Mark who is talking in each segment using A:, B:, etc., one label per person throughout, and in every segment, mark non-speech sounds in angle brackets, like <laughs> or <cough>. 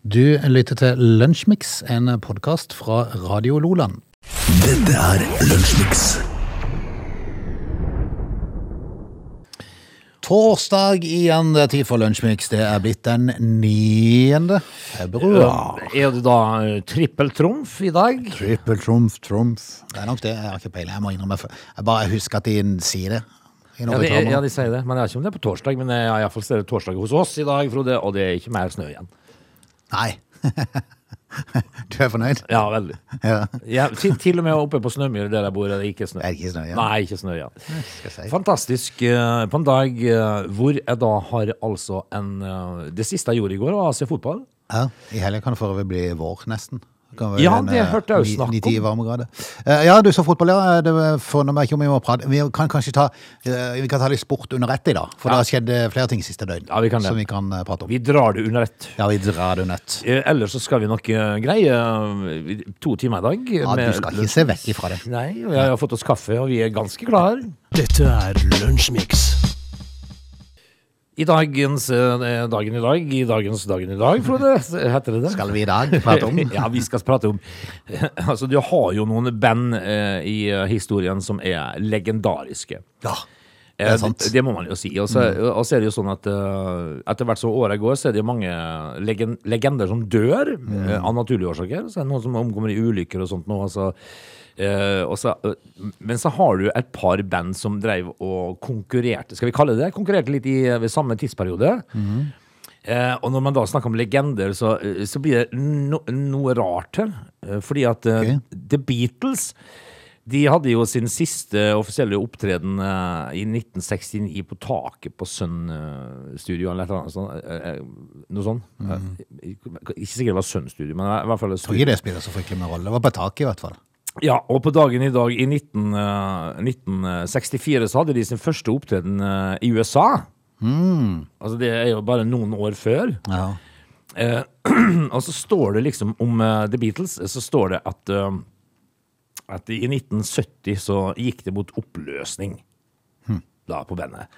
A: Du lytter til Lunsjmix, en podkast fra Radio Loland.
B: Dette er Lunsjmix.
A: Torsdag igjen, det er tid for Lunsjmix. Det er blitt den 9. februar.
C: Er det da eh, trippeltrumf i dag?
A: Trippel trumf, trumf. Det er nok det. Jeg har ikke peiling. Jeg må innrømme for- Jeg bare husker at de sier det. i noen
C: Ja de,
A: reklamer.
C: ja, de sier det. Men jeg vet ikke om det er på torsdag. Men eh, jeg har iallfall stedet torsdag hos oss i dag, Frode, og det er ikke mer snø igjen.
A: Nei. <laughs> du er fornøyd?
C: Ja, veldig.
A: Ja.
C: Ja, til, til og med oppe på Snømyr, der jeg bor, er det ikke snø.
A: Det er ikke snø igjen.
C: Nei, ikke snø igjen.
A: Skal jeg si.
C: Fantastisk eh, på en dag eh, hvor jeg da har altså en eh, Det siste jeg gjorde i går, var å se fotball.
A: Ja, I helga kan det for øvrig bli vår, nesten. Kan være
C: Ja,
A: en,
C: det
A: eh,
C: hørte jeg jo
A: ni-
C: snakk om.
A: 9-10 varmegrader. Eh, Ja, du så fotball, ja. Det forundrer meg ikke om vi må prate. Vi kan kanskje ta, eh, vi kan ta litt sport under ett i dag, for det har skjedd eh, flere ting siste døgn
C: Ja, vi kan det.
A: som vi kan eh, prate om.
C: Vi drar det under ett.
A: Ja, vi drar det nødt.
C: Eh, Ellers så skal vi nok eh, greie eh, to timer i dag.
A: Ja, du
C: med-
A: skal ikke se vekk ifra det.
C: Nei, og jeg har fått oss kaffe, og vi er ganske klare.
B: Dette er Lunsjmix.
C: I dagens eh, dagen i dag, i dagens dagen i dag,
A: <laughs>
C: Frode, heter det det?
A: Skal vi i dag prate om?
C: <laughs> ja, vi skal prate om <laughs> Altså, du har jo noen band eh, i eh, historien som er legendariske.
A: Ja.
C: Eh,
A: Det er sant. Mm.
C: Det, må man jo si. Og så, og så er det jo sånn at eh, etter hvert som året går, så er det jo mange legen, legender som dør
A: Mm.
C: eh, av naturlige årsaker. Så er det noen som omkommer i ulykker og sånt nå. Altså, eh, og så, eh, men så har du et par band som dreiv og konkurrerte, skal vi kalle det det? Konkurrerte litt i, eh, ved samme tidsperiode.
A: Mm.
C: Eh, og når man da snakker om legender, så, eh, så blir det no, noe rart her. Eh, Fordi at eh,
A: Ok.
C: The Beatles de hadde jo sin siste offisielle opptreden eh, i 1969 på taket på Sønn-studio eller et eller annet sånt. eh, eh, Noe sånt. Eh, Ikke sikkert det var Sønn-studio, men i hvert fall et
A: Jeg tror ikke det spiller så fryktelig med rolle. Det var på taket i hvert fall.
C: ja, og på dagen i dag, i 19, eh, 1964, så hadde de sin første opptreden eh, i USA. Altså, det er jo bare noen år før.
A: Ja.
C: Eh, <clears throat> og så står det liksom om eh, The Beatles, så står det at, eh, at i 1970 så gikk det mot oppløsning
A: Hmm.
C: da på bandet.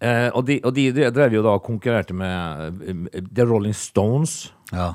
C: Eh, og, de, og de de drev jo da og konkurrerte med eh, The Rolling Stones.
A: ja.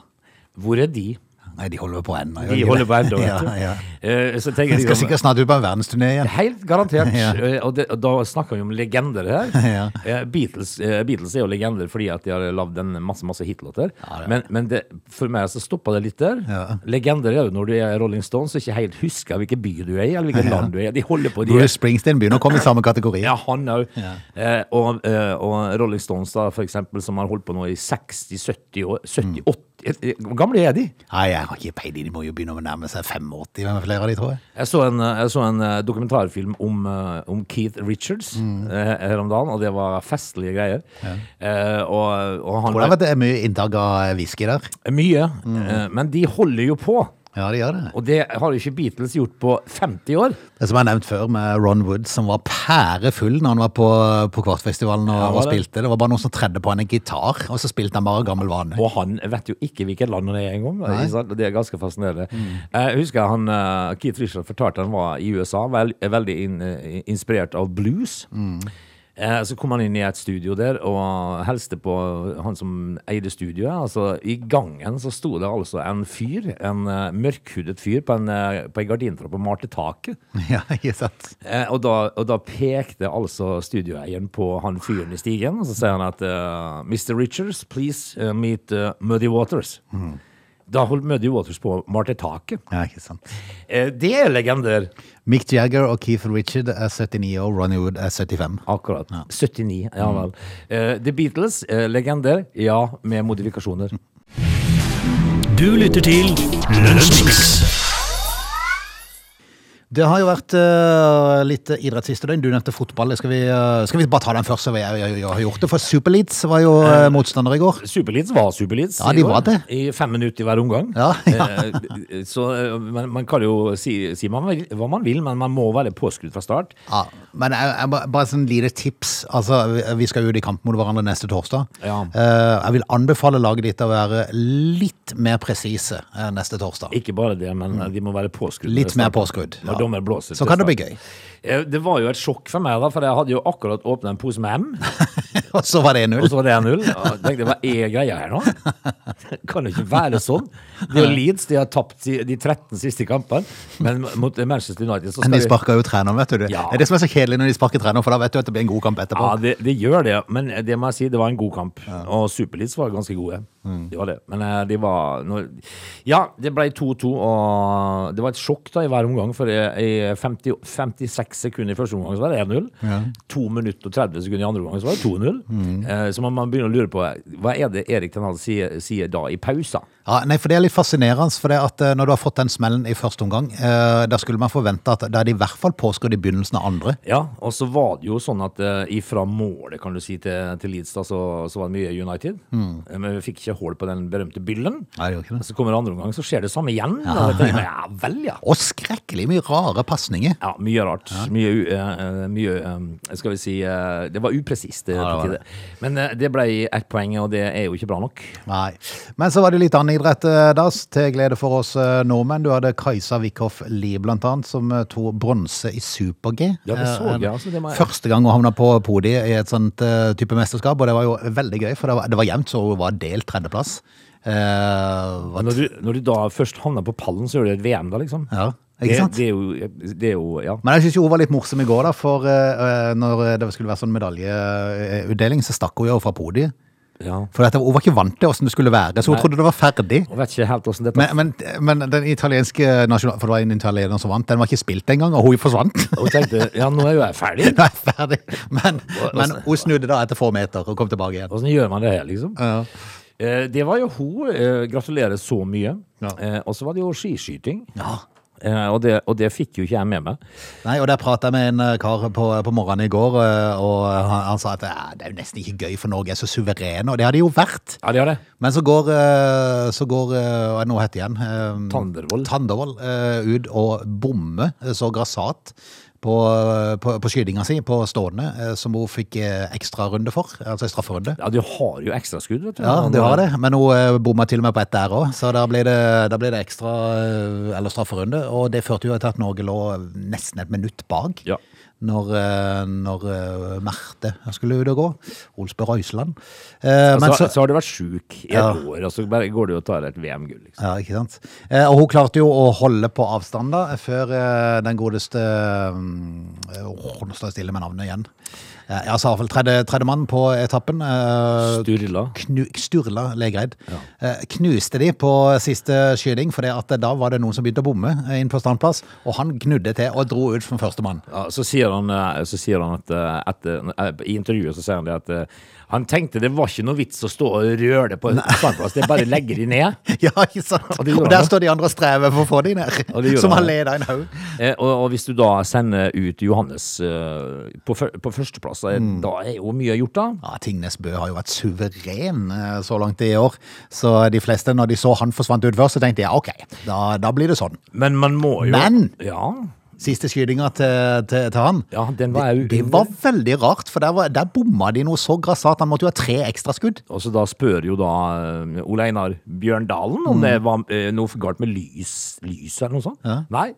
C: Hvor er de?
A: Nei, de holder på ennå. gjør
C: De
A: ikke
C: holder
A: det?
C: på ennå, vet du.
A: Ja, ja.
C: Eh, så tenker
A: De
C: de
A: skal
C: om-
A: sikkert snart ut på en verdensturné igjen.
C: Helt garantert.
A: <laughs> Ja.
C: Eh, Og, det, og da snakker vi om legender her.
A: <laughs> Ja.
C: Eh, Beatles, eh, Beatles er jo legender fordi at de har lagd en masse masse hitlåter.
A: Ja, det er.
C: men men det, for meg så stoppa det litt der.
A: Ja.
C: Legender er jo når du er Rolling Stones og ikke helt husker hvilken by du er i, eller hvilket land du er i. De holder på, de
A: Bruce Springsteen begynner å komme i samme kategori.
C: ja, han òg. Eh, og, eh, og Rolling Stones, da, for eksempel, som har holdt på nå i 60-70 år
A: Mm.
C: 70, 80 eh, Hvor gamle er de?
A: Nei, jeg har ikke peiling. De må jo begynne å nærme seg 85 med flere av de, tror jeg.
C: Jeg så en, jeg så en eh, dokumentarfilm om, eh, om Keith Richards
A: Mm.
C: eh, her om dagen, og det var festlige greier. Eh, og, og han
A: Tror jeg at det Mm. er mye inntak av eh, whisky der.
C: Mye. eh, men de holder jo på.
A: Ja, det gjør det.
C: Og det har jo ikke Beatles gjort på 50 år.
A: Det som jeg har nevnt før med Ron Wood, som var pærefull når han var på, på Kvartfestivalen og,
C: Ja, var
A: og
C: det?
A: spilte. Det var bare noen som tredde på han en gitar, og så spilte han bare gammel vane.
C: Og han vet jo ikke hvilket land han er engang. ikke sant? Og Det er ganske fascinerende. Jeg husker han, eh, Keith Richards fortalte han var i USA, vel, er veldig inn- eh, inspirert av blues. Eh, Så kom han inn i et studio der og hilste på han som eide studioet. Altså, I gangen så sto det altså en fyr, en eh, mørkhudet fyr, på en, eh, på en gardintrapp og malte taket.
A: <laughs> Ja, ikke sant?
C: Eh, og, da, og da pekte altså studioeieren på han fyren i stigen, og så sier han at eh, Mr. Richards, please eh, meet eh, Muddy Waters.
A: Mm.
C: Da holdt Muddy Waters på å male taket.
A: Ja, ikke sant.
C: Eh, det er legender!
A: Mick Jagger og Keith Richard er 79 år, Ronny Wood er 75.
C: Akkurat. 79, ja
A: Mm.
C: vel. Eh, The Beatles, eh, legender, ja, med
A: Mm.
C: modifikasjoner.
B: Du lytter til Lunsjmix.
A: Det har jo vært eh, litt idrett siste døgn. Du nevnte fotball. Skal vi, eh, skal vi bare ta den først, så vi jeg, jeg, har gjort det? For Super Leeds var jo eh, motstander i går.
C: Superleeds var Superleeds.
A: Ja, de
C: i går,
A: var det.
C: I fem minutter i hver omgang.
A: Ja,
C: Eh, så eh, man, man kan jo si, si man vil, hva man vil, men man må være påskrudd fra start.
A: Ja, men jeg, jeg, ba- bare sånn lite tips. Altså, vi, vi skal jo ut i kamp mot hverandre neste torsdag.
C: Ja.
A: Eh, jeg vil anbefale laget ditt å være litt mer presise eh, neste torsdag.
C: Ikke bare det, men eh, de må være påskrudd.
A: Litt mer påskrudd.
C: Når dommer blåser.
A: Så kan det bli gøy.
C: Eh, Det var jo et sjokk for meg, da, for jeg hadde jo akkurat åpna en pose med M,
A: <laughs> Og så var det
C: og
A: 1-0.
C: så var det 1-0. Ja, Jeg tenkte hva er greia her nå? <laughs> Kan jo ikke være sånn. Det er jo Leeds, de har tapt si- de 13 siste kampene, men mot Manchester United så
A: Men de
C: skal vi
A: sparker jo treneren, vet du.
C: Ja.
A: Det er det som er så kjedelig når de sparker treneren, for da vet du at det blir en god kamp etterpå.
C: Ja, det, det gjør det, men eh, det må jeg si, det var en god kamp. Og Superleeds var ganske gode. De var det. Men eh, de var når, Ja, det ble 2-2, og det var et sjokk da i hver omgang. For i i 50, 56 sekunder i første omgang så var det 1-0. 2 minutter og 30 sekunder i andre omgang så var det 2-0. Eh, Så man, man begynner å lure på hva er det Erik Tenhall sier, sier da i pausen?
A: Ja, nei, for Det er litt fascinerende. for det at eh, Når du har fått den smellen i første omgang, eh, da skulle man forvente at da er de i hvert fall påskrudd i begynnelsen av andre.
C: Ja, og så var det jo sånn at eh, ifra målet, kan du si, til, til Leeds, da, så, så var det mye United. Eh, Men vi fikk ikke hull på den berømte byllen.
A: Mm. Nei, det gjorde ikke det.
C: Så kommer andre omgang, så skjer det samme igjen. Ja, ja. ja vel, ja.
A: Og skrekkelig mye rare pasninger.
C: Ja, mye rart. Mye, u- eh, eh, mye eh, Skal vi si eh, Det var upresist. eh,
A: Ja, det
C: til
A: var
C: tider. Men eh, det ble ett poeng, og det er jo ikke bra nok.
A: Nei. Men så var det litt annen idrett, eh, Das, til glede for oss eh, nordmenn. Du hadde Kajsa Wickhoff Lie, blant annet, som eh, tok bronse i super-G.
C: Ja, det så
A: Eh,
C: jeg, altså, det må jeg-
A: Første gang hun havna på podiet i et sånt eh, type mesterskap, og det var jo veldig gøy, for det var, det var jevnt, så hun var delt tredjeplass. Eh,
C: Men når du, når du da først havner på pallen, så gjør du et VM, da, liksom.
A: ja, ikke sant?
C: Det, det, er jo, det er jo Ja.
A: Men jeg syns hun var litt morsom i går, da. For eh, eh, når det skulle være sånn medaljeutdeling, så stakk hun jo fra podiet.
C: ja.
A: For dette, hun var ikke vant til åssen det skulle være, så hun
C: Nei.
A: trodde det var ferdig.
C: Jeg vet ikke helt åssen dette
A: Men, men, men den italienske nasjonal... For det var en italiener som vant. Den var ikke spilt engang, og hun forsvant. <laughs>
C: Og tenkte ja, nå er jo jeg ferdig.
A: Nei, ferdig. Men, men hun snudde da etter få meter og kom tilbake igjen.
C: Åssen gjør man det her, liksom?
A: Ja.
C: Eh, det var jo hun. Eh, gratulerer så mye.
A: Ja.
C: Eh, og så var det jo skiskyting.
A: Ja.
C: Eh, og, det, og det fikk jo ikke jeg med meg.
A: Nei, og der prata jeg med en eh, kar på, på morgenen i går, eh, og han, han sa at "Ja, det er jo nesten ikke gøy, for Norge er så suverene, og det har de jo vært.
C: Ja, det har det.
A: Men så går, eh, så går eh, hva er det nå heter igjen? Eh,
C: Tandervold.
A: Tandervold eh, ut og bommer eh, så grassat på, eh, på, på skytinga si på stående, eh, som hun fikk eh, ekstrarunde for, altså en strafferunde.
C: Ja, du har jo ekstraskudd, vet du.
A: Ja, det var det, men hun eh, bomma til og med på ett der òg, så da ble det, da ble det ekstra eh, eller strafferunde. Og det førte jo til at Norge lå nesten et minutt bak
C: Ja.
A: når, eh, når eh, Merte skulle ut og gå. Olsbø Eh, Røiseland. Altså,
C: Så, så, har du vært sjuk i et
A: Ja.
C: år, og så bare går du og tar et VM-gull. Liksom.
A: Ja, ikke sant? Eh, Og hun klarte jo å holde på avstand da, før eh, den godeste eh, åh, Nå står jeg stille med navnet igjen. Eh, Ja, så iallfall tredje, tredje mann på etappen. eh,
C: Sturla.
A: Knu, Sturla Legreid. Eh, Knuste de på siste skyting, for da var det noen som begynte å bomme eh, inn på standplass. Og han gnudde til og dro ut som førstemann.
C: Ja, så, sier han, eh, så sier han at eh, etter, eh, I intervjuet så sier han det at eh, han tenkte det var ikke noe vits å stå og røre det på en standplass, det bare legger de
A: <laughs>
C: ned.
A: Ja, ikke sant?
C: Og det gjorde
A: Og der
C: han.
A: står de andre og strever for å få de ned.
C: Og det gjorde
A: Som
C: han.
A: har leda en haug.
C: Eh, og, og hvis du da sender ut Johannes eh, på, fyr- på førsteplass, eh,
A: Mm.
C: da er jo mye gjort, da.
A: Ja, Tingnes Bø har jo vært suveren eh, så langt i år. Så de fleste, når de så han forsvant ut først, så tenkte jeg ok, da, da blir det sånn.
C: Men man må jo
A: Men!
C: Ja,
A: Siste skytinga til, til, til han.
C: ja den var
A: Det
C: jo
A: var veldig rart, for der, var, der bomma de noe så grassat. Han måtte jo ha tre ekstraskudd.
C: Og så da spør jo da eh, Ole Einar Bjørndalen
A: Mm.
C: om det var eh, noe galt med lys, lys eller noe sånt. Nei,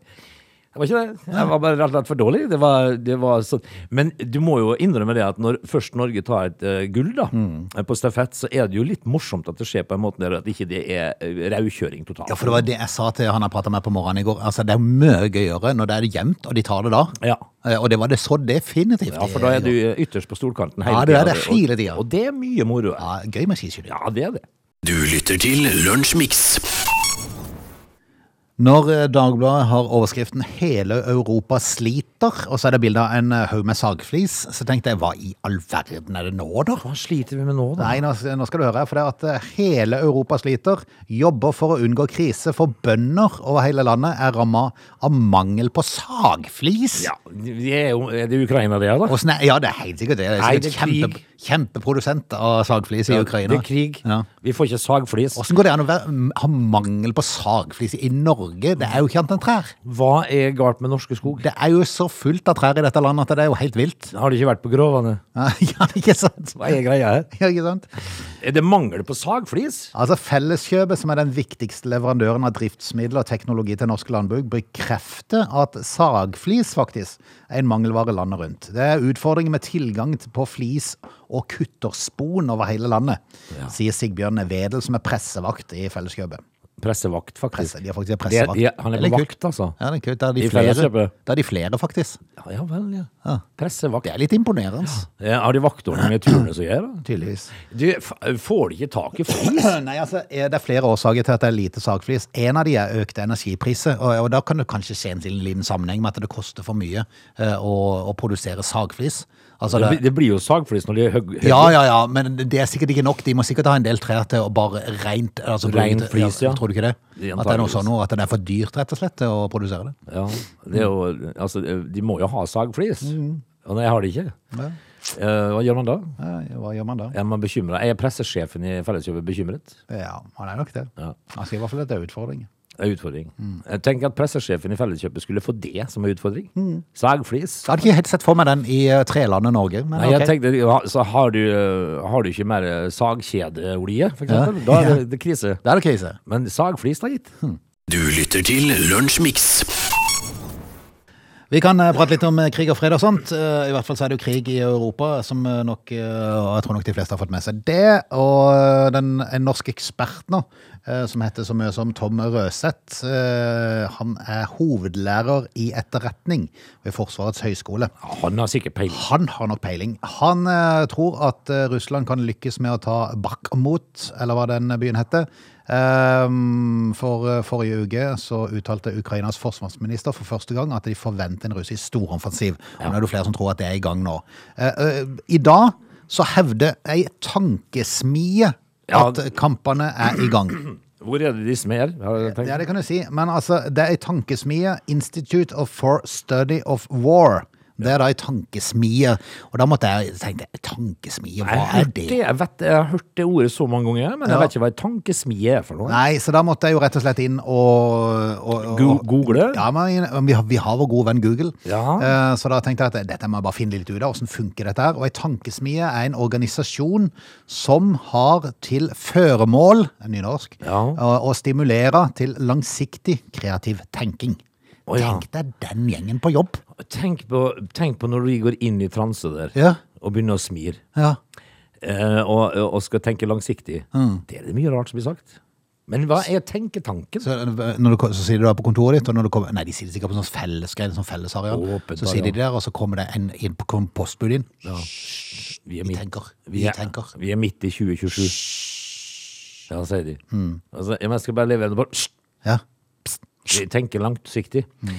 C: det var ikke det. Jeg var bare rett og slett for dårlig. Det var, det var sånn. Men du må jo innrømme det at når først Norge tar et eh, gull da,
A: Mm.
C: eh, på stafett, så er det jo litt morsomt at det skjer på en måte der at ikke det er eh, raukjøring
A: Ja,
C: totalt.
A: for det var det jeg sa til han jeg prata med på morgenen i går. Altså, Det er mye gøyere når det er jevnt, og de tar det da.
C: Ja.
A: Eh, Og det var det så definitivt.
C: Ja, for da er du eh, ytterst på stolkanten hele
A: Ja, du er
C: tiden,
A: det
C: og-
A: hele tiden.
C: Og det er mye moro.
A: Ja, gøy med skiskyting.
C: Ja, det er det.
B: Du lytter til Lunsjmix.
A: Når eh, Dagbladet har overskriften 'Hele Europa sliter', og så er det bilde av en eh, haug med sagflis, så tenkte jeg hva i all verden er det nå, da?
C: Hva sliter vi med nå da?
A: Nei, nå, nå skal du høre, her, for det er at eh, hele Europa sliter. Jobber for å unngå krise, for bønder over hele landet er ramma av mangel på sagflis.
C: Ja, det er jo, er det Ukraina det er da?
A: Åssen er, ja, det er helt sikkert det. Det er
C: Nei,
A: sikkert
C: det er
A: kjempe,
C: krig.
A: Kjempeprodusent av sagflis i Ukraina.
C: Det er krig.
A: Ja.
C: Vi får ikke sagflis.
A: Hvordan går det an å være, ha mangel på sagflis i Norge? Det er jo ikke annet enn trær.
C: Hva er galt med norske skog?
A: Det er jo så fullt av trær i dette landet at det er jo helt vilt.
C: Har det ikke vært på Grovane?
A: <laughs> Ja, ja, ikke sant?
C: Hva er greia her?
A: <laughs> Ja, ikke sant?
C: Er det mangel på sagflis?
A: Altså Felleskjøpet, som er den viktigste leverandøren av driftsmidler og teknologi til norsk landbruk, bekrefter at sagflis faktisk er en mangelvare landet rundt. Det er utfordringer med tilgang på flis og kutterspon over hele landet, sier Sigbjørn Vedel, som er pressevakt i Felleskjøpet.
C: Pressevakt, faktisk.
A: Presse, de har faktisk en
C: Det er-
A: pressevakt.
C: de er- han er
A: Det
C: på
A: litt kult.
C: vakt, altså.
A: Ja, det er kult. Da er de
C: I
A: flere,
C: Felleskjøpet.
A: da er de flere faktisk.
C: Ja, ja vel, ja. Pressevakt.
A: Det er litt imponerende,
C: Eh, Har de vaktordning med turnus å gjøre? da?
A: tydeligvis.
C: Du, f- får de ikke tak i flis?
A: Nei, altså, er Det er flere årsaker til at det er lite sagflis. En av de er økte energipriser. Og, og da kan du kanskje se en liten sammenheng med at det koster for mye eh, å, å produsere sagflis. Altså,
C: Det,
A: det,
C: blir- det blir jo sagflis når de er høg... høg-
A: ja, ja, ja, men det er sikkert ikke nok. De må sikkert ha en del trær til å bare rent altså, bruke
C: Rein
A: det-
C: flis, ja.
A: Tror du ikke det?
C: Ja,
A: At det er noe
C: antageligvis.
A: sånn noe, at det er for dyrt, rett og slett, til å produsere det.
C: Ja, det er jo, altså, de må jo ha sagflis.
A: Mm.
C: Og nei, jeg har det ikke. Eh, hva gjør man da?
A: Ja, hva gjør man da?
C: Er man bekymret? Er pressesjefen i Felleskjøpet bekymret?
A: Ja, man er nok det.
C: Ja.
A: Han sier i hvert fall at det er utfordringer.
C: Det er en utfordring.
A: Mm.
C: Jeg tenker at pressesjefen i Felleskjøpet skulle få det som en utfordring.
A: Mm.
C: Sagflis.
A: Jeg hadde ikke helt sett for meg den i eh, trelandet Norge. Men
C: Nei,
A: ok.
C: jeg tenkte, ja, så har du, eh, har du ikke mer eh, sagkjedeolje, for eksempel? Da er det, det krise.
A: Da er det krise.
C: Men sagflis da,
A: <laughs>
C: gitt.
B: Du lytter til Lunsjmix.
A: Vi kan eh, prate litt om eh, krig og fred og sånt. Eh, I hvert fall så er det jo krig i Europa, som eh, nok eh, og jeg tror nok de fleste har fått med seg det. Og eh, den, en norsk ekspert nå, eh, som heter så mye som Tom Røseth, eh, han er hovedlærer i etterretning ved Forsvarets høgskole.
C: Han har sikkert peiling.
A: Han har nok peiling. Han eh, tror at eh, Russland kan lykkes med å ta Bakhmut, eller hva den byen heter. Ehm, for eh, forrige uke så uttalte Ukrainas forsvarsminister for første gang at de forventer en russisk storoffensiv. Og Nå er det jo flere som tror at det er i gang nå. Eh, eh, I dag så hevder ei tankesmie
C: Ja.
A: at kampene er i gang.
C: Hvor er det de smer? Har jeg tenkt.
A: Ja, det kan du si. Men altså, det er ei tankesmie. Institute of for Study of War. Det er da ei tankesmie. Og da måtte jeg tenke tankesmie,
C: Jeg
A: hva
C: har
A: er
C: hørt det,
A: det?
C: jeg vet, jeg har hørt det ordet så mange ganger, men
A: Ja.
C: jeg vet ikke hva en tankesmie er for noe.
A: Nei, så da måtte jeg jo rett og slett inn og, og, og
C: Go- Google?
A: Ja, men vi har, vi har vår gode venn Google.
C: Ja.
A: Eh, Så da tenkte jeg at dette må jeg bare finne litt ut av. Hvordan funker dette her? Og ei tankesmie er en organisasjon som har til føremål, nynorsk,
C: Ja.
A: å, å stimulere til langsiktig kreativ tenking.
C: Å, ja.
A: Tenk deg den gjengen på jobb.
C: Tenk, på, tenk på når de går inn i transe der,
A: Ja.
C: og begynner å smire,
A: Ja.
C: eh, og, og skal tenke langsiktig. Det er det mye rart som blir sagt. Men hva er tenketanken?
A: Mm. Så, eh, når du, ko- så sier du det på kontoret ditt, og når du kommer, nei, de sitter sikkert på sånn fellesgreie, sånn fellesareal.
C: Åpent
A: så sitter de der, og så kommer det en inn på kom postbud inn.
C: Vi
A: Vi
C: midt-
A: tenker.
C: Vi
A: Vi
C: er,
A: tenker.
C: vi er midt i 2027. Ja, sier de.
A: Mm.
C: Altså, ja, men jeg skal bare leve på
A: Ja.
C: Vi tenker langsiktig. Eh, eh,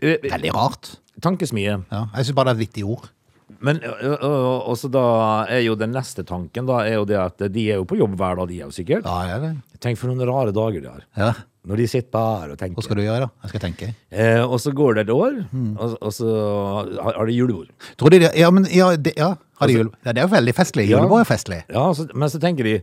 A: Mm. Veldig rart.
C: Tankesmie.
A: Ja. Jeg synes bare det er et vittig ord.
C: Men ø, ø, ø, også da er jo den neste tanken da, er jo det at de er jo på jobb hver dag, de er jo sikkert.
A: Ja, ja, det.
C: Tenk for noen rare dager de har.
A: Ja.
C: Når de sitter bare og
A: Hva
C: tenker.
A: skal du gjøre da? Jeg skal tenke.
C: Eh, og så går det et år,
A: Mm.
C: og, og så har, har de julebord.
A: Tror de det? Ja, men ja, det, ja. Har de jule... ja, det er jo veldig festlig.
C: Ja.
A: Julebord er festlig.
C: Ja, så, men så tenker de,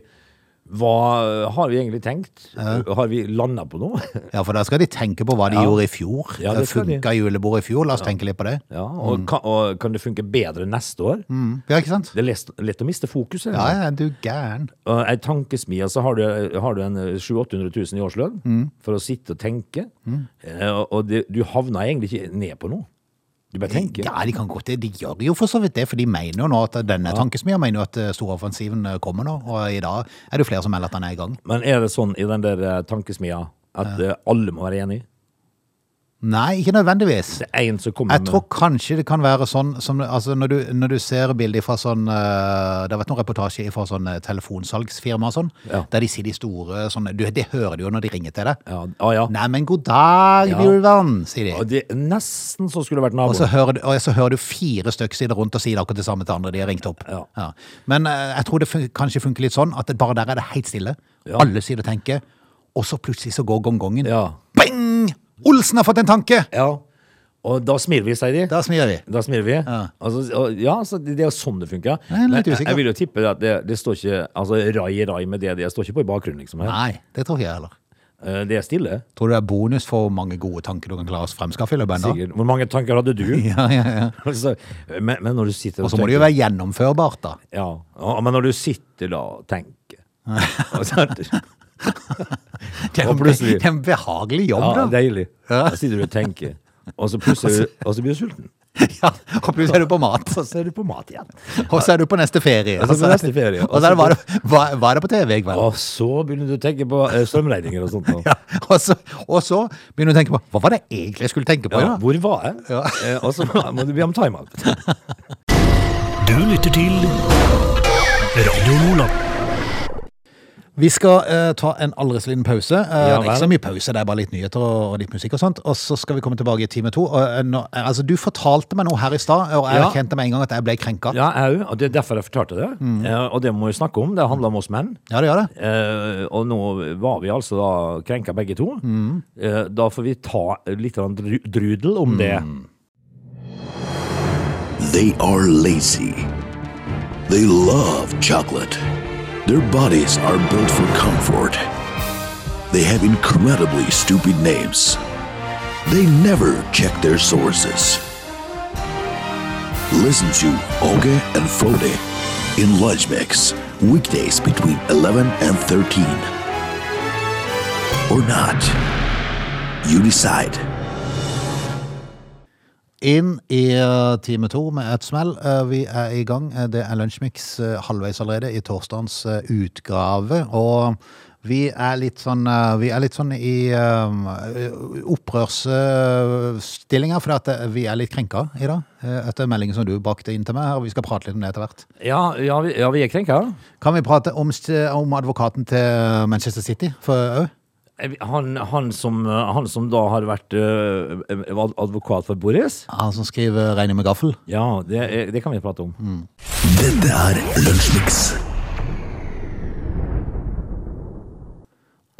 C: hva har vi egentlig tenkt? Har vi landet på noe? <laughs>
A: Ja, for da skal de tenke på hva de gjorde i fjor.
C: Ja, det skal de.
A: Funket julebordet i fjor? La oss tenke litt på det.
C: ja, og, kan, og kan det funke bedre neste år?
A: Mm. Ja, ikke sant?
C: Det er lett, lett å miste fokuset.
A: Ja, ja, du gæren.
C: Og ei tankesmie, så har du, har du en eh, 700 000-800 000 i årslønn
A: Mm.
C: for å sitte og tenke. Eh, og- Og det, du havner egentlig ikke ned på noe. Du bare tenker.
A: Ja, de kan godt det. De gjør jo for så vidt det, for de mener jo nå at denne tankesmia mener jo at eh, storoffensiven eh, kommer nå, og i dag er det jo flere som melder at den er i gang.
C: Men er det sånn i den der eh, tankesmia at eh, alle må være enig?
A: Nei, ikke nødvendigvis.
C: Det er en som kommer
A: Jeg tror kanskje det kan være sånn som, altså når, du, når du ser bilder fra sånn eh, Det har vært noen reportasjer fra sånn eh, telefonsalgsfirma og sånn,
C: Ja.
A: der de sier de store sånn du, Det hører du jo når de ringer til deg.
C: med ja, ah, ja.
A: Nei, men god dag,
C: Ja.
A: Bjurvann, sier de.
C: Og det er nesten så skulle det vært
A: Og så
C: nabo.
A: hører, du- og så hører du fire stykker sider rundt og sier akkurat det samme til andre de har ringt opp.
C: Ja.
A: Men eh, jeg tror det fun kanskje funker litt sånn at det, bare der er det helt stille.
C: Ja.
A: Alle sier det tenker, og så plutselig så går gongongen.
C: Ja.
A: Bing! Olsen har fått en tanke!
C: ja. Og da smiler vi, sier de.
A: Da smiler vi.
C: Da smiler vi.
A: Ja.
C: Altså, og- ja, så det det er jo sånn det funker.
A: Jeg er litt
C: Men jeg,
A: usikker.
C: jeg vil jo tippe det at det, det står ikke altså, rai rai med det. Det står ikke på i bakgrunnen, liksom. Her.
A: Nei, det tror ikke jeg heller.
C: Eh, Det er stille.
A: Tror du det er bonus for hvor mange gode tanker du kan klare å fremskaffe i løpet av en dag?
C: Sikkert. Hvor mange tanker hadde du?
A: <laughs> Ja, ja, ja.
C: <laughs> Altså, men, men når du sitter
A: Og så må det jo være gjennomførbart, da.
C: Ja, ja, men når du sitter da
A: <laughs>
C: og tenker og så-
A: Det er,
C: Og
A: en-
C: plutselig-
A: det er en behagelig jobb,
C: Ja,
A: da.
C: deilig.
A: Ja.
C: Da sitter du og tenker, og så
A: <laughs>
C: plutselig og så blir du sulten.
A: Ja, og plutselig er du på mat.
C: Og så er du på mat igjen.
A: Og så er du på neste ferie.
C: Og så på neste ferie.
A: Og så er det bare Hva hva er det på TV i kveld?
C: Og så begynner du å tenke på eh, strømregninger og sånt. nå.
A: Ja, og, så, og så begynner du å tenke på Hva var det egentlig jeg skulle tenke på i
C: Ja,
A: dag?
C: hvor var jeg? <laughs> Eh, Og så må du be om timeout.
B: Du lytter til Radio Nordland.
A: Vi skal eh, ta en aldri så liten pause. Eh,
C: Ja,
A: det er ikke så
C: vel.
A: mye pause, det er bare litt nyheter og, og litt musikk og sånt. Og så skal vi komme tilbake i time to. Og, eh, nå, eh, altså, du fortalte meg noe her i stad, og jeg
C: Ja.
A: erkjente med en gang at jeg ble krenka. Ja,
C: Ja, jeg òg. Og det er derfor jeg fortalte det. Eh, Og det må vi snakke om. Det handler om oss menn.
A: det gjør det.
C: Eh, og nå var vi altså da krenka begge to. Eh, da får vi ta litt grann dru- drudel om det.
B: They are lazy. They love chocolate. Their bodies are built for comfort. They have incredibly stupid names. They never check their sources. Listen to Oge and Frode in Lunch Mix, weekdays between 11 and 13. Or not. You decide.
A: Inn i eh, time to med et smell. Eh, vi er i gang. Eh, det er Lunsjmix eh, halvveis allerede i torsdagens eh, utgave. Og vi er litt sånn, eh, vi er litt sånn i opprørsstillinger, for at eh, vi er litt krenka i dag. eh, etter meldingen som du bakte inn til meg her, og vi skal prate litt om det etter hvert.
C: Ja, ja, vi, ja, vi er krenka.
A: Kan vi prate om, st- om advokaten til Manchester City for òg?
C: Eh, Han, han, som, eh, han som da har vært eh, ad- advokat for Boris?
A: Han som skriver 'Regner med gaffel'?
C: Ja, det, er- det kan vi prate om.
B: Dette er Lunsjmix.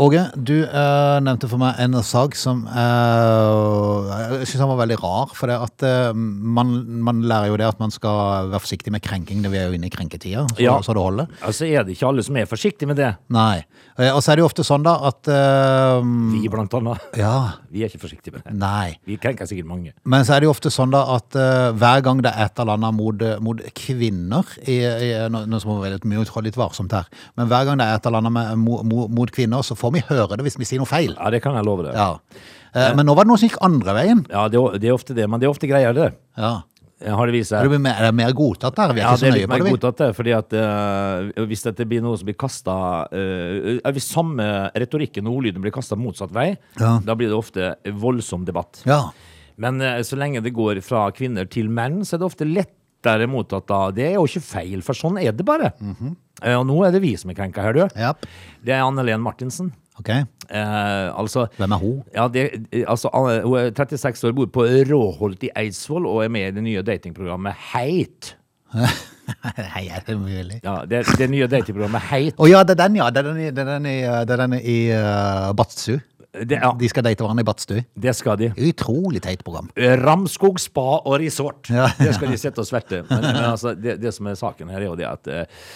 A: Åge, du eh, nevnte for meg en sak som eh, jeg syns var veldig rar. For det at eh, man, man lærer jo det at man skal være forsiktig med krenking. Det vi er jo inne i krenketida, så,
C: Ja.
A: så det holder.
C: Altså er det ikke alle som er forsiktige med det.
A: Nei. Eh, Og så er det jo ofte sånn, da, at eh,
C: Vi blant annet. <laughs>
A: Ja.
C: Vi er ikke forsiktige med det.
A: Nei.
C: Vi krenker sikkert mange.
A: Men så er det jo ofte sånn da at eh, hver gang det er et eller annet mot, mot kvinner i, i, nå, nå må vi være litt, mye- trå litt varsomt her. Men hver gang det er et eller annet med, mo- mo- mot kvinner, så får vi høre det hvis vi sier noe feil.
C: Ja, det kan jeg love deg. Ja,
A: Ja. Eh, men nå var det noe som gikk andre veien.
C: det, er- det er ofte det, men det er ofte greier det.
A: Ja.
C: Eh, Har det vist
A: Er
C: seg.
A: det mer, er det mer godtatt der? Vi er
C: Ja,
A: ikke så
C: det er
A: nøye
C: litt
A: på
C: mer
A: det, vi.
C: godtatt, det, fordi at eh, hvis dette blir noe som blir kasta Hvis samme retorikken og ordlyden blir kasta motsatt vei,
A: Ja.
C: da blir det ofte voldsom debatt.
A: Ja.
C: Men eh, så lenge det går fra kvinner til menn, så er det ofte lettere mottatt da. Det er jo ikke feil, for sånn er det bare.
A: Mhm.
C: Eh, Og nå er det vi som er krenka her, du.
A: Japp.
C: Det er Anne Len Martinsen.
A: Ok.
C: Eh, altså
A: Hvem er hun?
C: ja, det, altså, Anne- hun er 36 år, bor på Råholt i Eidsvoll og er med i det nye datingprogrammet Heit.
A: <laughs> Hei, er det mulig?
C: Ja, det, det nye datingprogrammet Heit.
A: Å ja, det er den, ja. Det er den i, det er den i, eh, det er den i eh, Badstue.
C: Det, ja,
A: De skal date hverandre i Badstue.
C: det skal de.
A: Utrolig teit program.
C: Ramskog spa og resort.
A: Ja.
C: Det skal de sitte og sverte. Men, men altså, det, det som er saken her, er jo det at, eh,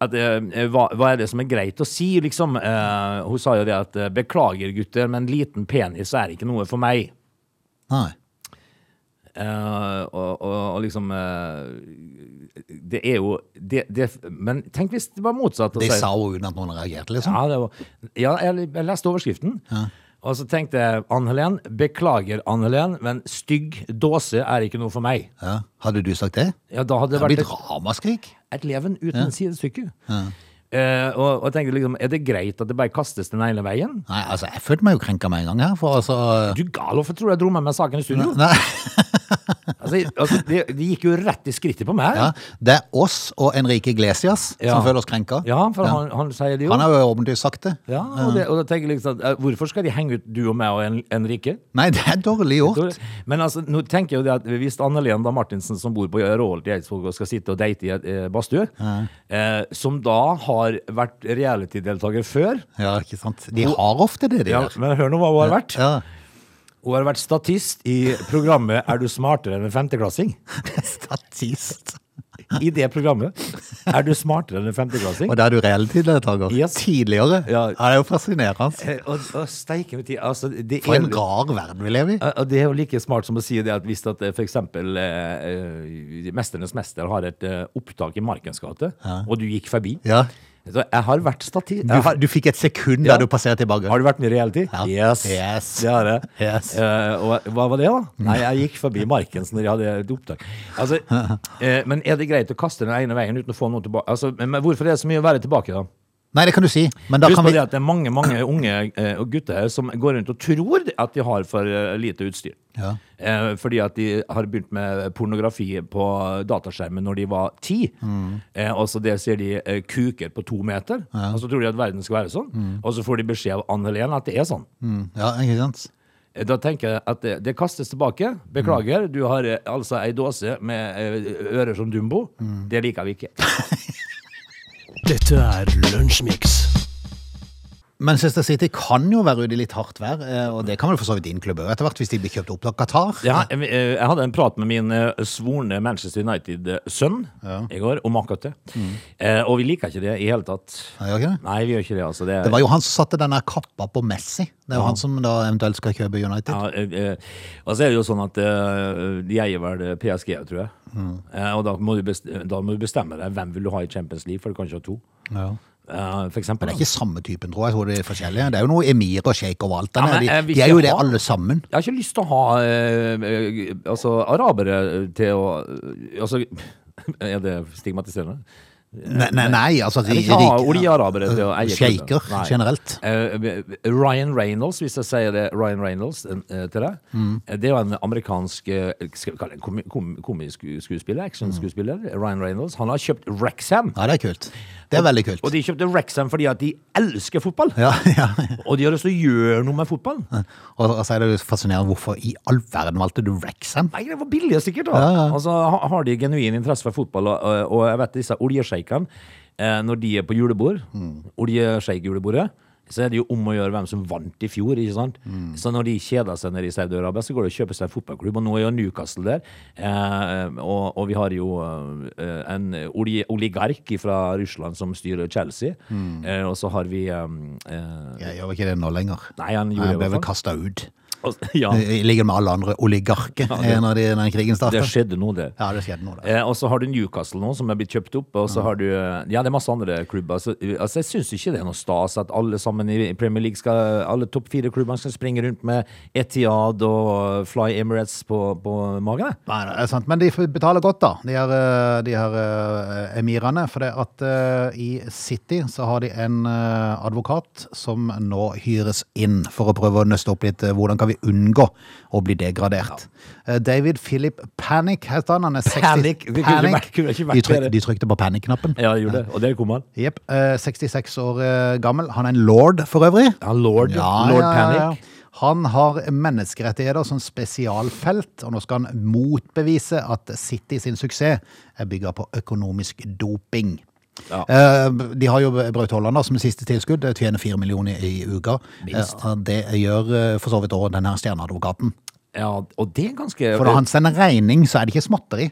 C: at eh, hva, hva er det som er greit å si, liksom? Eh, hun sa jo det at eh, 'beklager, gutter, men liten penis er ikke noe for meg'.
A: Nei.
C: Eh, og, og, og liksom eh, Det er jo det, det, Men tenk hvis det var motsatt. å
A: Det
C: si-
A: sa hun uten at noen reagerte, liksom.
C: Ja, det var, ja jeg, jeg leste overskriften. Og så tenkte jeg Ann-Helen, beklager Ann-Helen, men stygg dåse er ikke noe for meg.
A: Ja. Hadde du sagt det?
C: Ja, da hadde det
A: Det har
C: vært
A: blitt
C: et,
A: ramaskrik.
C: et leven uten sidestykke. Eh, og, og jeg tenkte liksom, er det greit at det bare kastes den ene veien?
A: Nei, altså, jeg følte meg jo krenka med en gang her, for altså
C: Du gal, hvorfor tror du jeg dro med meg saken i studio?
A: Nei,
C: <laughs> Altså, altså, det, det gikk jo rett i skrittet på meg.
A: ja. Det er oss og Enrique Iglesias
C: Ja.
A: som føler oss krenka.
C: Ja, for Han, han sier det jo.
A: Han har jo åpenbart sagt det.
C: Ja, og, det, og da tenker jeg liksom at, eh, Hvorfor skal de henge ut du og meg og en, Enrique?
A: Nei, det er dårlig gjort.
C: Men altså, nå tenker jeg jo det at hvis Anne-Len da Martinsen, som bor på Råholt i Eidsvåg, og skal sitte og date i eh, badstue, eh, som da har vært reality-deltaker før
A: Ja, ikke sant. De har ofte det, de
C: ja,
A: der.
C: Men hør nå hva hun har vært.
A: <laughs> Ja.
C: Hun har vært statist i programmet Er du smartere enn en femteklassing?
A: Statist.
C: I det programmet. Er du smartere enn en femteklassing?
A: Og da er du reell tidligere?
C: Yes.
A: Tidligere?
C: Ja.
A: Ja, det er jo fascinerende.
C: Eh, Og, og steike med tid. Altså, det
A: For
C: er-
A: en rar verden vi lever i.
C: Ja, Eh, og Det er jo like smart som å si det at hvis at eh, for eksempel eh, eh, Mesternes mester har et eh, opptak i Markens gate, og du gikk forbi
A: Ja.
C: Så jeg har vært stativ...
A: Du,
C: Jeg har,
A: du fikk et sekund
C: Ja.
A: da du passerer tilbake.
C: har du vært med i reality?
A: Ja.
C: Yes.
A: Yes.
C: Det har jeg.
A: Yes.
C: Eh, og hva var det, da? Nei, jeg gikk forbi Markens når jeg hadde et opptak. Altså,
A: <laughs>
C: eh, men er det greit å kaste den ene veien uten å få noe tilbake? Altså, men men hvorfor er det så mye å være tilbake, da?
A: Nei, det kan du si. Men da
C: Husk
A: kan
C: på
A: vi
C: det at det er mange mange unge eh, og gutter her som går rundt og tror at de har for eh, lite utstyr.
A: Ja.
C: Eh, fordi at de har begynt med pornografi på dataskjermen når de var ti.
A: Mm.
C: Eh, og så der ser de eh, kuker på to meter, og så tror de at verden skal være sånn. Og så får de beskjed av Ann Helen at det er sånn.
A: Mm, Ja, ikke sant?
C: Eh, Da tenker jeg at det, det kastes tilbake. Beklager,
A: Mm.
C: du har eh, altså ei dåse med eh, ører som Dumbo.
A: Mm.
C: Det liker vi ikke.
D: Dette er Lunsjmix.
A: Manchester City kan jo være ute i litt hardt vær, eh, og det kan vel for så vidt din klubb òg etter hvert, hvis de blir kjøpt opp av Qatar.
C: Ja, jeg, eh, jeg hadde en prat med min eh, svorne Manchester United-sønn i går, om akkurat det. Eh, og vi liker ikke det i hele tatt.
A: Ja, Mm. gjør ikke det?
C: Nei, vi gjør ikke det, altså. Det,
A: Det var jo han som satte denne kappa på Messi. Det er jo han som da eventuelt skal kjøpe United.
C: ja, eh, eh, og så er det jo sånn at eh, de eier vel eh, PSG, tror jeg.
A: Mm.
C: Eh, og da må, du best- da må du bestemme deg hvem vil du ha i Champions League, for du kan ikke ha to. Eh, for eksempel.
A: Men det er ikke samme typen, tror jeg. jeg tror de er forskjellige. Det er jo noe emir og sjeik og alt.
C: Ja, men
A: de,
C: jeg vil
A: de er
C: ikke
A: jo det
C: ha-
A: alle sammen.
C: Jeg har ikke lyst til å ha eh, eh, altså, arabere til å eh, Altså, <laughs> er det stigmatiserende?
A: Nei, nei, nei altså
C: Jeg vil Eh, ikke ha oljearabere til å eie
A: Sjeiker
C: klubben. Nei.
A: generelt.
C: Eh, Ryan Reynolds, hvis jeg sier det Ryan Reynolds eh, til deg,
A: Mm.
C: eh, det er jo en amerikansk eh, skal vi kalle det komi- kom- komisk skuespiller, actionskuespiller.
A: Mm.
C: Ryan Reynolds. Han har kjøpt Rexham.
A: Ja, det er kult. Det er veldig kult.
C: Og de kjøpte Rexham fordi at de elsker fotball.
A: Ja, <laughs> ja.
C: Og de har lyst til å gjøre noe med fotball.
A: Og så er det jo fascinerende hvorfor i all verden valgte du Rexham?
C: Nei, det var billig sikkert da Altså, ha- har de genuin interesse for fotball Og, og- og jeg vet disse oljesjeikene eh, Når de er på julebord Oljesjeikjulebordet Så er det jo om å gjøre hvem som vant i fjor ikke sant? Så når de kjeder seg nede i Saudi-Arabia Så går det og kjøper seg en fotballklubb Og nå er jo Newcastle der eh, og, og vi har jo eh, en olje, oligark fra Russland Som styrer Chelsea eh, Og så har vi eh, eh,
A: Jeg gjør ikke det nå lenger.
C: Nei, han
A: Nei,
C: gjorde
A: jeg ble
C: det i
A: vel
C: hvert fall
A: kasta ut.
C: Og- <laughs> ja,
A: I ligger med alle andre oligarker eh, når de, den krigen
C: det
A: starter.
C: skjedde nå det
A: Ja, det skjedde nå, det.
C: Eh, og så har du Newcastle nå, som er blitt kjøpt opp. Og så har du eh, Ja, det er masse andre klubber. Så, eh, altså, jeg syns ikke det er noe stas at alle sammen i Premier League skal Alle topp fire-klubbene skal springe rundt med Etiad og Fly Emirates på, på magen. jeg.
A: Nei, det er sant. Men de betaler godt, da, de her, eh, de her eh, emirene. For det at eh, i City så har de en eh, advokat som nå hyres inn for å prøve å nøste opp litt eh, hvordan kan vi unngå å bli degradert. Eh, David Philip Panic heter han. han er 60,
C: Panic? Det kunne ikke vært- kunne ikke vært
A: De, tryk,
C: bedre.
A: de trykte på panic-knappen.
C: Ja, jeg gjorde det. Og der kom han.
A: Jepp. eh, 66 år eh, gammel. Han er en lord for øvrig.
C: Ja, Lord, Lord Panic.
A: Han har menneskerettigheter som spesialfelt, og nå skal han motbevise at City sin suksess er bygget på økonomisk doping.
C: Ja.
A: Eh, De har jo Braut Haaland da, som siste tilskudd, eh, tjener fire millioner i uka. Eh, Det gjør eh, for så vidt også denne stjerneadvokaten.
C: Ja, og det er ganske
A: For når han sender regning, så er det ikke småtteri.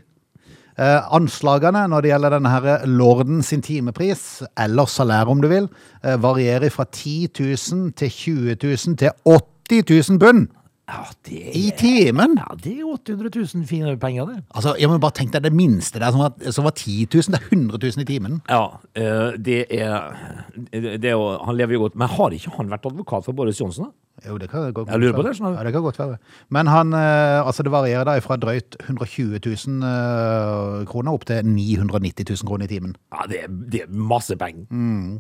A: Eh, anslagene når det gjelder denne her eh, lorden sin timepris, eller salær om du vil, eh, varierer fra 10 000 til 20 000 til 80 000 pund
C: Ja, det er,
A: i timen!
C: ja, det er 800 000 fine penger, det.
A: Altså, jeg må bare tenke deg det minste der som var, som var 10 000, det er 100 000 i timen.
C: Ja, eh, det er, det er jo, Han lever jo godt. Men har ikke han vært advokat for Boris Johnsen? da?
A: Jo, det kan godt
C: Jeg lurer på det,
A: være.
C: skjønner du.
A: Ja, det kan godt være. Men han, eh, altså det varierer da fra drøyt 120 000 eh, kroner opp til 990 000 kroner i timen.
C: Ja, det er, det er masse penger.
A: Mm.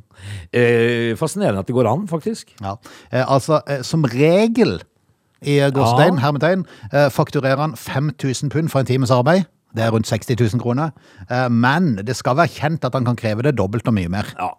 C: Eh, fascinerende at det går an, faktisk.
A: Ja. Eh, altså, eh, som regel i eh, Gårdstein,
C: Ja.
A: hermetegn, eh, fakturerer han 5000 pund for en times arbeid. Det er rundt 60 000 kroner. Eh, men det skal være kjent at han kan kreve det dobbelt og mye mer.
C: Ja.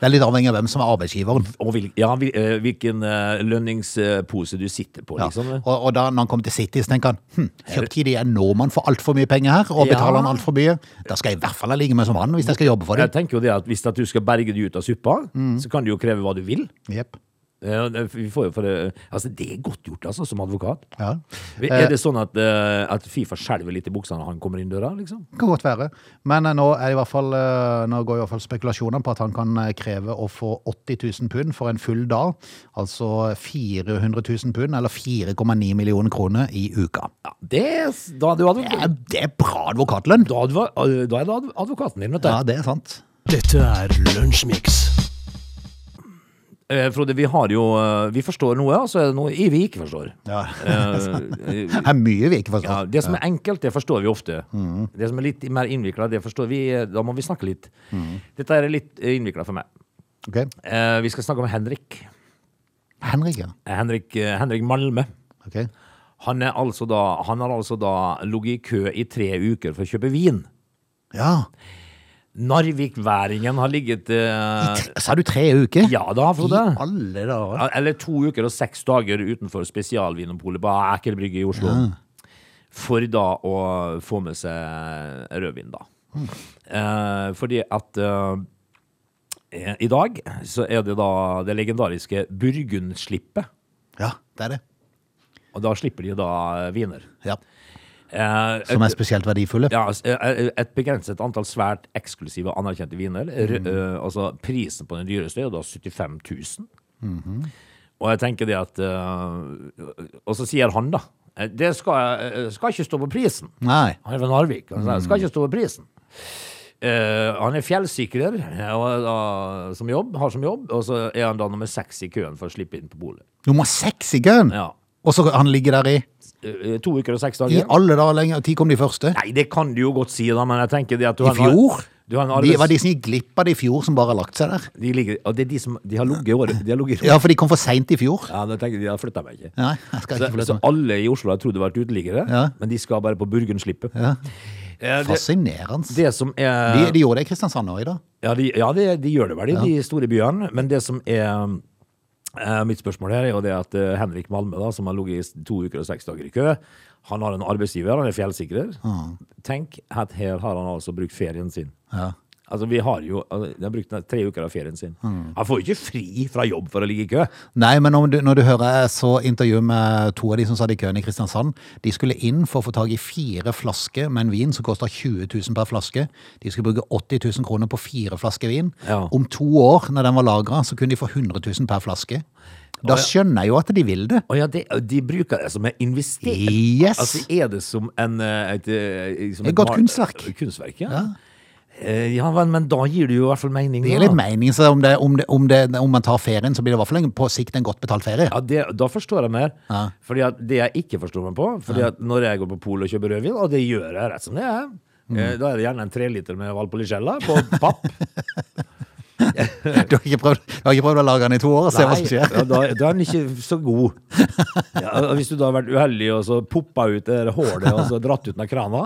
A: Det er litt avhengig av hvem som er arbeidsgiveren.
C: Og hvil, ja, hvil, eh, hvilken eh, lønningspose du sitter på,
A: Ja.
C: liksom.
A: Og, og da når han kommer til City, så tenker han hm, kjøptid er nordmann for altfor mye penger her, og
C: Ja.
A: betaler han altfor mye. Da skal jeg i hvert fall ha ligget med som han hvis jeg skal jobbe for
C: Jeg
A: det. Mm.
C: tenker jo det at Hvis at du skal berge deg ut av suppa, så kan du jo kreve hva du vil.
A: Jepp.
C: Eh, det- Vi får jo for, eh, altså, det er godt gjort, altså, som advokat.
A: Ja.
C: Er det sånn at, eh, at Fifa skjelver litt i buksa når han kommer inn døra, liksom?
A: Kan godt være. Men eh, nå, er det i hvert fall, eh, nå går i hvert fall spekulasjoner på at han kan eh, kreve å få 80 000 pund for en full dag. Altså 400 000 pund, eller 4,9 millioner kroner i uka.
C: Ja, det, s- da, er du advo-
A: Det er, det er bra advokatlønn!
C: da, advo- eh, da er det adv- advokaten din, vet du.
A: Ja, det er sant.
D: Dette er Lunsjmix.
C: Eh, Frode, vi har jo eh, Vi forstår noe, og så er det noe vi ikke forstår.
A: Ja.
C: Eh,
A: Det er mye vi ikke
C: Ja,
A: forstår.
C: det som er enkelt, det forstår vi ofte.
A: Mm.
C: Det som er litt mer innvikla, det forstår vi. eh, Da må vi snakke litt.
A: Mm.
C: Dette er litt innvikla for meg.
A: Ok.
C: Eh, vi skal snakke om Henrik.
A: Henrik, ja.
C: Eh, Henrik, eh, Henrik Malme.
A: Ok.
C: Han, er altså da, han har altså da ligget i kø i tre uker for å kjøpe vin.
A: Ja.
C: Narvikværingen har ligget eh,
A: Sa du tre uker?
C: Ja da, Frode.
A: I alle dager.
C: Ja, Eller to uker og seks dager utenfor spesialvinopolet på Aker Brygge i Oslo. For da å få med seg rødvin, da. Eh, fordi at eh, i dag så er det da det legendariske Burgundslippet.
A: Ja, det er det.
C: Og da slipper de da viner.
A: Ja.
C: Eh,
A: Som er spesielt verdifulle.
C: ja, s- eh, et begrenset antall svært eksklusive og anerkjente viner. Rø-
A: Mm.
C: eh, altså Prisen på den dyreste er jo da 75 000.
A: Mhm.
C: Og jeg tenker det at eh, Og så sier han, da eh, Det skal, eh, skal ikke stå på prisen.
A: Nei. Mm.
C: Han er fra Narvik. Han sier, skal ikke stå på prisen. Eh, han er fjellsikrer eh, og, er da som jobb, har som jobb, og så er han da nummer seks i køen for å slippe inn på bolet.
A: Nummer seks i køen!
C: Ja.
A: Og så han ligger der i
C: Eh, to uker og seks
A: I
C: dager.
A: alle dager lenge. Når kom de første?
C: Nei, det kan du jo godt si, da, men jeg tenker det at du
A: I
C: har en ar-
A: fjor?
C: Du har en
A: De
C: arbeids-
A: var de som gikk glipp av det i fjor, som bare har lagt seg der.
C: De ligger, og det er de som De har ligget i året. De har ligget i året.
A: Ja, for de kom for seint i fjor.
C: Ja, da tenker jeg de har flytta meg ikke.
A: Nei, jeg skal
C: Så,
A: ikke få
C: så
A: lov til
C: alle i Oslo har trodd det var et uteliggere,
A: Ja.
C: men de skal bare på Burgundslippet.
A: Ja.
C: Eh,
A: å
C: Det,
A: Fascinerende.
C: det som er
A: De, de gjorde det i Kristiansand òg i dag.
C: Ja, de, ja, de, de gjør det vel i de store byene, men det som er eh, mitt spørsmål her, er jo det at eh, Henrik Malme, da, som har ligget i s- to uker og seks dager i kø, han har en arbeidsgiver, han er fjellsikrer. Tenk at her har han altså brukt ferien sin.
A: Ja.
C: Altså, vi har jo altså, De har brukt tre uker av ferien sin.
A: Mm.
C: Han får jo ikke fri fra jobb for å ligge i kø.
A: Nei, men om du, når du hører jeg så intervju med to av de som satt i køen i Kristiansand. De skulle inn for å få tak i fire flasker med en vin som kosta 20 000 per flaske. De skulle bruke 80 000 kroner på fire flasker vin.
C: Ja.
A: Om to år, når den var lagra, så kunne de få 100 000 per flaske. Da skjønner jeg jo at de vil det.
C: Å ja, det, eh, de bruker det som en investering.
A: Yes!
C: Altså, er det som en eh, et, eh, som
A: Et godt
C: mar-
A: kunstverk.
C: Kunstverk, ja. Eh, Ja, vel, men da gir det jo i hvert fall mening.
A: Det gir
C: da.
A: litt mening, så om, det, om, det, om, det, om man tar ferien, så blir det i hvert fall en- på sikt en godt betalt ferie.
C: Ja, det, Da forstår jeg mer. Fordi at det jeg ikke forstår meg på Fordi at Når jeg går på polet og kjøper rødvin, og det gjør jeg rett som det er,
A: Mm.
C: eh, da er det gjerne en treliter med Valpolicella på
A: <laughs>
C: papp.
A: <laughs> Du, har ikke prøvd, du har ikke prøvd å lage den i to år og se hva som skjer?
C: ja, da, da er den ikke så god. Ja, og hvis du da har vært uheldig og så poppa ut det der hålet og så dratt ut den av krana,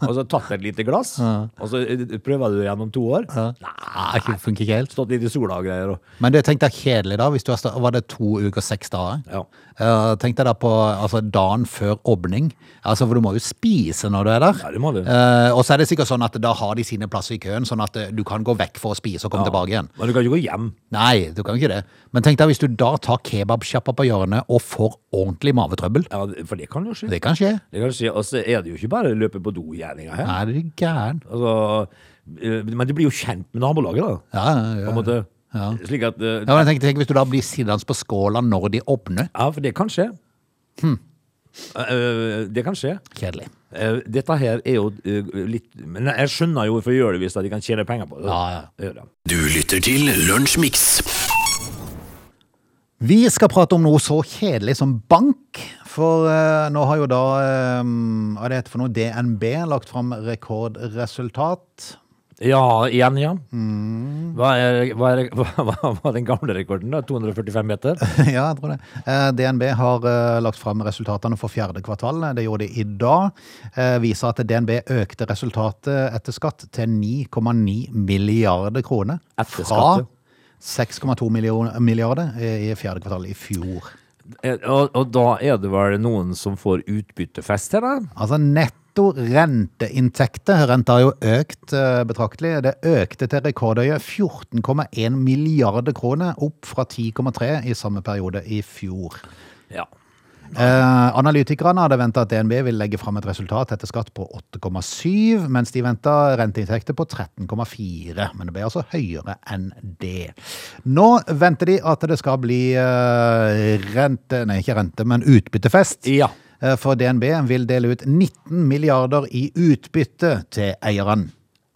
C: og så tatt et lite glass, og så eh, prøver du det gjennom to år,
A: Nei, det funker ikke helt.
C: stått litt i sola og greier og
A: Men du, tenk deg kjedelig da, hvis du har stå, var det to uker, seks dager?
C: Ja.
A: Eh, tenk deg da på altså, dagen før åpning, altså, for du må jo spise når du er der.
C: Ja, det må du.
A: Eh, og så er det sikkert sånn at da har de sine plasser i køen, sånn at eh, du kan gå vekk for å spise og komme tilbake igjen.
C: Men du kan ikke gå hjem.
A: Nei, du kan ikke det. Men tenk deg hvis du da tar kebabkjappa på hjørnet og får ordentlig mavetrøbbel.
C: Ja, det- for det kan jo skje.
A: Det kan skje.
C: Det kan skje. Og så er det jo ikke bare løpe på do-gjerninga her.
A: Nei, det er gæren.
C: Altså, eh, men du blir jo kjent med nabolaget, da.
A: Ja, ja,
C: På
A: ja.
C: en måte. Slik at eh,
A: Ja, men jeg tenkte, tenk hvis du da blir sittende på skåla når de åpner.
C: Ja, for det kan skje.
A: Hm.
C: Eh, eh, det kan skje.
A: Kjedelig.
C: Eh, dette her er jo eh, litt Men jeg skjønner jo hvorfor de gjør det hvis de kan tjene penger på det.
A: Ja, ja.
C: Det gjør jeg.
D: Du lytter til Lunsjmix.
A: Vi skal prate om noe så kjedelig som bank. For eh, nå har jo da eh, Hva er det heter for noe? DNB lagt fram rekordresultat.
C: ja, igjen, ja. Hva, er, hva, er, <laughs> hva, hva var den gamle rekorden, da? 245 <laughs> meter?
A: <laughs> ja, jeg tror det. Eh, DNB har eh, lagt fram resultatene for fjerde kvartal. Det gjorde de i dag. Eh, viser at DNB økte resultatet etter skatt til 9,9 milliarder kroner.
C: Etter
A: fra
C: skatt,
A: 6,2 million- milliarder eh, i i fjerde kvartal i fjor.
C: Eh, Og, og da er det vel noen som får utbyttefest her, da?
A: Altså netto netto renteinntekter. Renta har jo økt eh, betraktelig. Det økte til rekordøye 14,1 milliarder kroner, opp fra 10,3 i samme periode i fjor.
C: Ja.
A: Eh, analytikerne hadde venta at DNB ville legge fram et resultat etter skatt på 8,7, mens de venta renteinntekter på 13,4. Men det ble altså høyere enn det. Nå venter de at det skal bli eh, rente Nei, ikke rente, men utbyttefest.
C: Ja.
A: Eh, For DNB vil dele ut 19 milliarder i utbytte til eieren.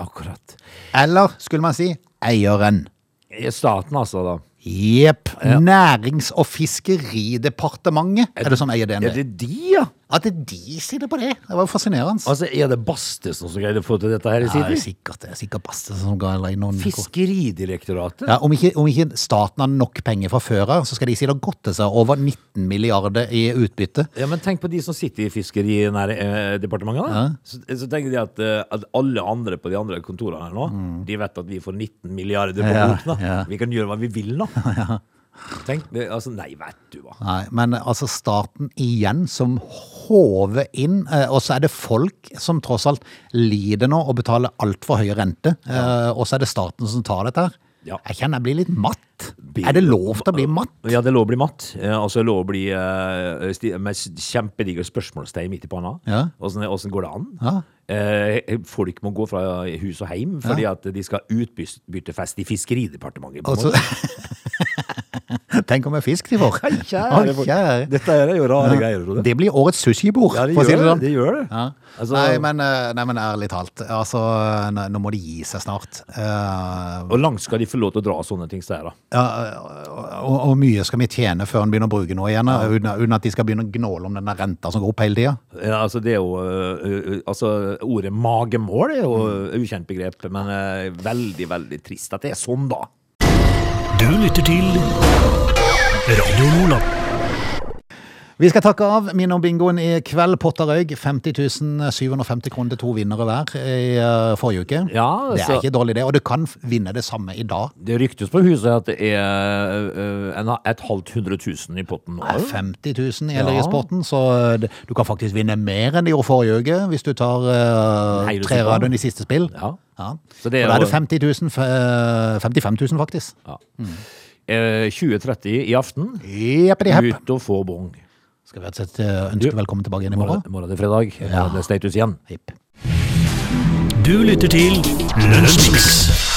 C: Akkurat.
A: Eller skulle man si eieren.
C: I Staten, altså, da.
A: Jepp. Nærings- og fiskeridepartementet er det som eier DNB.
C: Er det de, ja?
A: At de sitter på det, det var jo fascinerende.
C: Altså, Er det Bastesen som greide å få til dette her i
A: ja, det er
C: sin tid?
A: sikkert, det er sikkert Baste som ga eller noen
C: Fiskeridirektoratet?
A: ja, om, ikke, om ikke staten har nok penger fra før av, så skal de si det har gått til seg over 19 milliarder i utbytte.
C: Ja, men tenk på de som sitter i fiskeridepartementet. da. Så, så tenker de at, eh, at alle andre på de andre kontorene her nå, de vet at vi får 19 milliarder på
A: Mm. Ja,
C: boken. da.
A: ja.
C: Vi kan gjøre hva vi
A: <laughs>
C: vil nå. Tenk, det, altså, Nei, vet du hva.
A: Nei, men altså staten igjen som håver inn, eh, og så er det folk som tross alt lider nå og betaler altfor høy rente, eh, og så er det staten som tar dette her.
C: Ja.
A: Jeg kjenner jeg blir litt matt. Er det lov til å bli matt?
C: Ja, det lå å bli matt. eh, Og så lå å bli eh, sti- med s- kjempedigre spørsmålstegn midt i panna.
A: Ja.
C: Åssen åssen går det an?
A: Ja.
C: Eh, folk må gå fra hus og heim fordi at de skal utbyttefest i Fiskeridepartementet. på en
A: Altså, <laughs>
C: måte.
A: Tenk om jeg fisk de får.
C: Hei,
A: Å,
C: kjære folk.
A: kjære.
C: Dette her er jo rare greier, Frode.
A: Det blir årets sushibord,
C: Ja, det
A: for å si
C: gjør
A: det
C: det.
A: sånn.
C: Det gjør det.
A: Ja.
C: Altså-
A: nei, men, eh, nei, men ærlig talt. Altså, nei, nå må de gi seg snart. Eh,
C: Hvor langt skal de få lov til å dra sånne ting der, da?
A: ja, og, og mye skal vi tjene før en begynner å bruke noe igjen, da, uten, uten at de skal begynne å gnåle om denne renta som går opp hele tida.
C: Ja, altså, det er jo øh, øh, Altså, ordet magemål er jo øh, ukjent begrep, men øh, veldig, veldig trist at det er sånn, da.
D: Du lytter til Radio Nordland.
A: Vi skal takke av Minn om bingoen i kveld. Potterøyg 50 750 kroner til to vinnere hver i eh, forrige uke.
C: Ja,
A: det er
C: så-
A: ikke dårlig, det. Og du kan f- vinne det samme i dag.
C: Det ryktes på huset at det er øh, en, et halvt hundre tusen i potten nå.
A: er 50 000 gjelder
C: Ja.
A: i sporten, så eh, det- du kan faktisk vinne mer enn de gjorde forrige uke hvis du tar eh,
C: Nei, du
A: tre
C: sier bra.
A: radioen i siste spill.
C: Ja.
A: Ja.
C: Så
A: Så
C: det er
A: da er det
C: jo-
A: 50 000, f- eh, 55 000 faktisk.
C: Ja.
A: Mm.
C: Eh, 20.30 i aften.
A: Jeppidi hepp.
C: Ut og få bong.
A: Skal vi rett og slett eh, ønske
C: Du-
A: velkommen tilbake igjen i morgen?
C: Morgen morgen er det fredag. Morgen er det status igjen.
A: Hipp.
D: Du lytter til Lunsjmix.